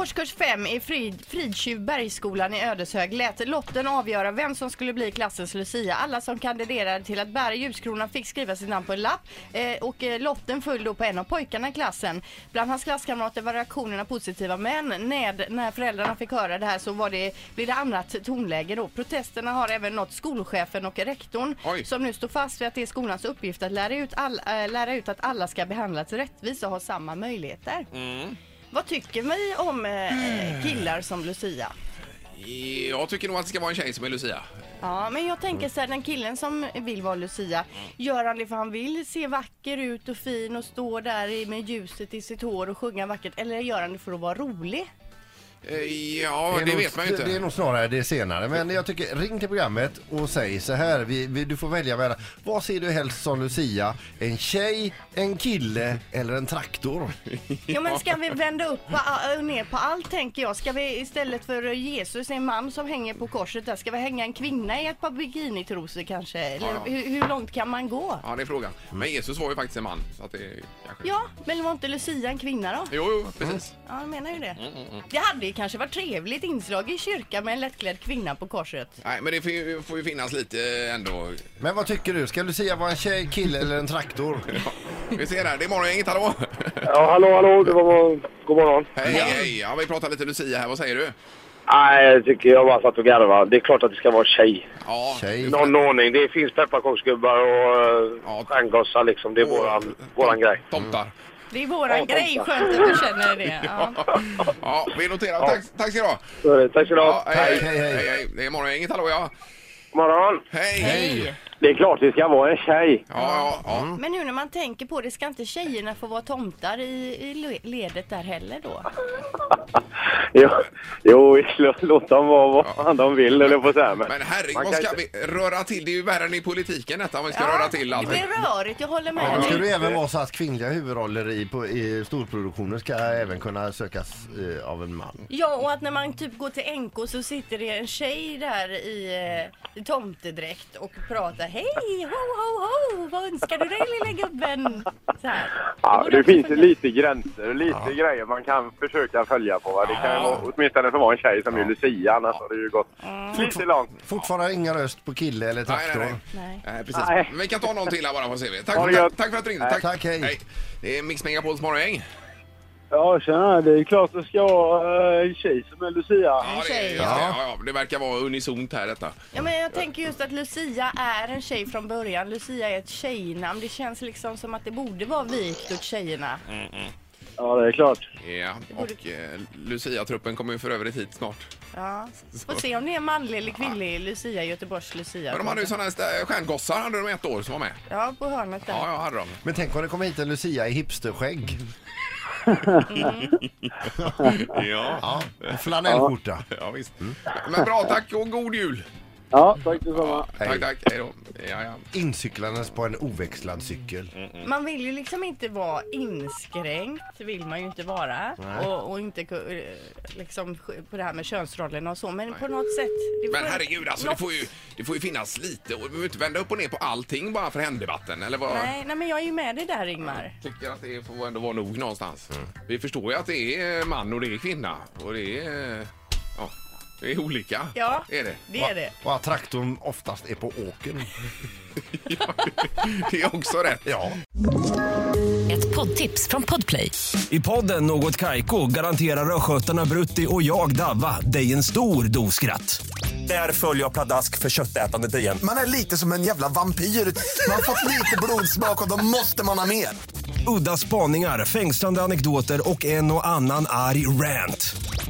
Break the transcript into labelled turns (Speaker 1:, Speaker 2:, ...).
Speaker 1: Årskurs 5 i Frid, Fridtjuvbergsskolan i Ödeshög lät lotten avgöra vem som skulle bli klassens Lucia. Alla som kandiderade till att bära ljuskronan fick skriva sitt namn på en lapp eh, och eh, lotten föll då på en av pojkarna i klassen. Bland hans klasskamrater var reaktionerna positiva men när, när föräldrarna fick höra det här så var det, blev det annat tonläge då. Protesterna har även nått skolchefen och rektorn
Speaker 2: Oj.
Speaker 1: som nu står fast vid att det är skolans uppgift att lära ut, all, eh, lära ut att alla ska behandlas rättvist och ha samma möjligheter. Vad tycker vi om eh, killar som Lucia?
Speaker 2: Jag tycker nog att det ska vara en tjej som är Lucia.
Speaker 1: Ja, men jag tänker så här, den killen som vill vara Lucia, gör han det för han vill se vacker ut och fin och stå där i- med ljuset i sitt hår och sjunga vackert, eller gör han det för att vara rolig?
Speaker 2: Eh, Ja, det,
Speaker 3: är nog-
Speaker 2: vet man ju inte.
Speaker 3: Det är nog snarare det senare. Men jag tycker, ring till programmet och säg så här. Vi, vi, du får välja mellan, vad ser du helst som Lucia? En tjej, en kille eller en traktor?
Speaker 1: Ja, men ska vi vända upp på, och ner på allt tänker jag? Ska vi istället för Jesus, en man som hänger på korset där, ska vi hänga en kvinna i ett par bikinitrosor kanske? Eller
Speaker 2: Ja, ja.
Speaker 1: Hur, hur långt kan man gå?
Speaker 2: Ja, det är frågan.
Speaker 3: Mm.
Speaker 2: Men Jesus var ju faktiskt en man. Så att det kanske...
Speaker 1: Ja, men var inte Lucia en kvinna då?
Speaker 2: Jo,
Speaker 3: Mm.
Speaker 2: jo, precis.
Speaker 1: Ja, jag menar ju det. Det hade ju kanske varit trevligt inslag i kyrkan med en lättklädd kvinna på korset.
Speaker 2: Nej, men det får ju, får ju finnas lite ändå.
Speaker 3: Men vad tycker du? Ska Lucia vara en tjej, kille eller en traktor?
Speaker 2: Ja. Vi ser här, det är morgongänget, hallå!
Speaker 4: Ja, hallå, hallå. Det var... God morgon.
Speaker 2: Hej, hej! Ja, vi pratar lite Lucia här, vad säger du?
Speaker 4: Nej, jag tycker jag bara satt och garvade. Det är klart att det ska vara tjej.
Speaker 2: Ja,
Speaker 3: Tjej.
Speaker 2: Åh,
Speaker 4: Någon ordning. Det finns pepparkaksgubbar och
Speaker 2: Ja.
Speaker 4: ja. stjärngossar liksom. Det är våran, våran grej.
Speaker 2: Tomtar.
Speaker 1: Det är våran
Speaker 4: Ja,
Speaker 1: grej,
Speaker 4: toppen.
Speaker 1: skönt att du känner det. Ja.
Speaker 4: Mm.
Speaker 2: Ja, vi noterar. Tack, tack ska du ha!
Speaker 4: Så, tack ska du
Speaker 2: Ja,
Speaker 4: ha.
Speaker 2: hej,
Speaker 3: Hej, hej.
Speaker 2: hej, hej. Det är morgongänget, hallå ja!
Speaker 4: God morgon.
Speaker 2: Hej!
Speaker 3: Hej. Mm.
Speaker 4: Det är klart det ska vara en tjej.
Speaker 2: Ja, ja, ja.
Speaker 1: Men nu när man tänker på det, ska inte tjejerna få vara tomtar i, i le- ledet där heller då?
Speaker 4: Jo, jo lå- låt dem vara vad fan de vill, eller på så här. Men,
Speaker 2: Men herregud,
Speaker 4: man
Speaker 2: vad
Speaker 4: kan
Speaker 2: ska vi
Speaker 4: inte-
Speaker 2: röra till? Det är ju värre än i politiken detta, om vi ska röra till
Speaker 1: det
Speaker 2: allting.
Speaker 1: blir rörigt, jag håller
Speaker 3: Ja,
Speaker 1: med
Speaker 3: då ska
Speaker 1: dig.
Speaker 3: det även vara så att kvinnliga huvudroller i, på, i storproduktioner ska även kunna sökas eh, av en man.
Speaker 1: Ja, och att när man typ går till NK så sitter det en tjej där i, eh, i tomtedräkt och pratar Hej, ho, ho, ho, vad önskar du dig lilla gubben? Så här.
Speaker 4: ja,
Speaker 1: Och
Speaker 4: det
Speaker 1: de
Speaker 4: finns
Speaker 1: sjunger-
Speaker 4: lite gränser och lite grejer man kan försöka följa på. Va? Det kan ju vara, åtminstone för att vara en tjej som är Lucia, annars har det ju gått lite långt.
Speaker 3: Fortfarande ingen röst på kille eller
Speaker 2: Nej,
Speaker 3: traktor.
Speaker 2: nej, nej.
Speaker 1: Nej.
Speaker 2: Nej, precis.
Speaker 4: Nej.
Speaker 2: Men Vi kan ta någon till här bara på CV. Tack,
Speaker 4: Ha det
Speaker 2: tack,
Speaker 4: gött.
Speaker 2: tack för att du ringde.
Speaker 4: Nej,
Speaker 2: Tack.
Speaker 3: tack, hej.
Speaker 2: Det är Mix Megapols morgongäng.
Speaker 4: Ja, tjena. Det är klart det ska vara eh, en tjej som är Lucia.
Speaker 2: Ja, det,
Speaker 1: tjej.
Speaker 2: just det. ja, ja, det verkar vara unisont här detta.
Speaker 1: Ja, men jag tänker just att Lucia är en tjej från början. Lucia är ett tjejnamn. Det känns liksom som att det borde vara vikt åt tjejerna.
Speaker 4: Ja, det är klart.
Speaker 2: Ja, och eh, Lucia-truppen kommer ju för övrigt hit snart.
Speaker 1: Ja. Får se om det är manlig eller kvinnlig Lucia, Göteborgs Lucia.
Speaker 2: Men de hade ju sådana här stä- stjärngossar hade de ett år som var med.
Speaker 1: Ja, på hörnet där.
Speaker 2: Ja, ja, hade de.
Speaker 3: Men tänk om det kommer hit en Lucia i hipsterskägg.
Speaker 2: Ja.
Speaker 3: Ja, och flanellskjorta.
Speaker 2: Ja, visst.
Speaker 4: Mm.
Speaker 2: Men bra, tack och god jul!
Speaker 4: Ja, tack detsamma.
Speaker 2: Tack, tack. Hej då. Ja, ja.
Speaker 3: Incyklandes på en oväxlad cykel.
Speaker 1: Man vill ju liksom inte vara inskränkt, vill man ju inte vara. Och, och inte ku- eh, liksom sk- på det här med könsrollerna och så. Men på något sätt. det
Speaker 2: Men
Speaker 1: får-
Speaker 2: herregud, alltså, det,
Speaker 1: något-
Speaker 2: får ju, det får ju finnas lite. Och vi behöver inte vända upp och ner på allting bara för händebatten. Eller vad?
Speaker 1: Nej, nej, men jag är ju med dig där Ingmar.
Speaker 2: tycker att det får ändå vara nog någonstans. Vi förstår ju att det är man och det är kvinna och det är... Ja, det är olika.
Speaker 1: Ja,
Speaker 2: Är det?
Speaker 1: Det är det.
Speaker 3: Och att traktorn oftast är på åkern.
Speaker 2: Det är också rätt.
Speaker 3: Ja.
Speaker 5: Ett poddtips från Podplay.
Speaker 6: I podden Något Kaiko garanterar östgötarna Brutti och jag, Davva, dig en stor dos skratt. Där följer jag pladask för köttätandet igen.
Speaker 7: Man är lite som en jävla vampyr. Man har fått lite blodsmak och då måste man ha mer.
Speaker 6: Udda spaningar, fängslande anekdoter och en och annan arg rant.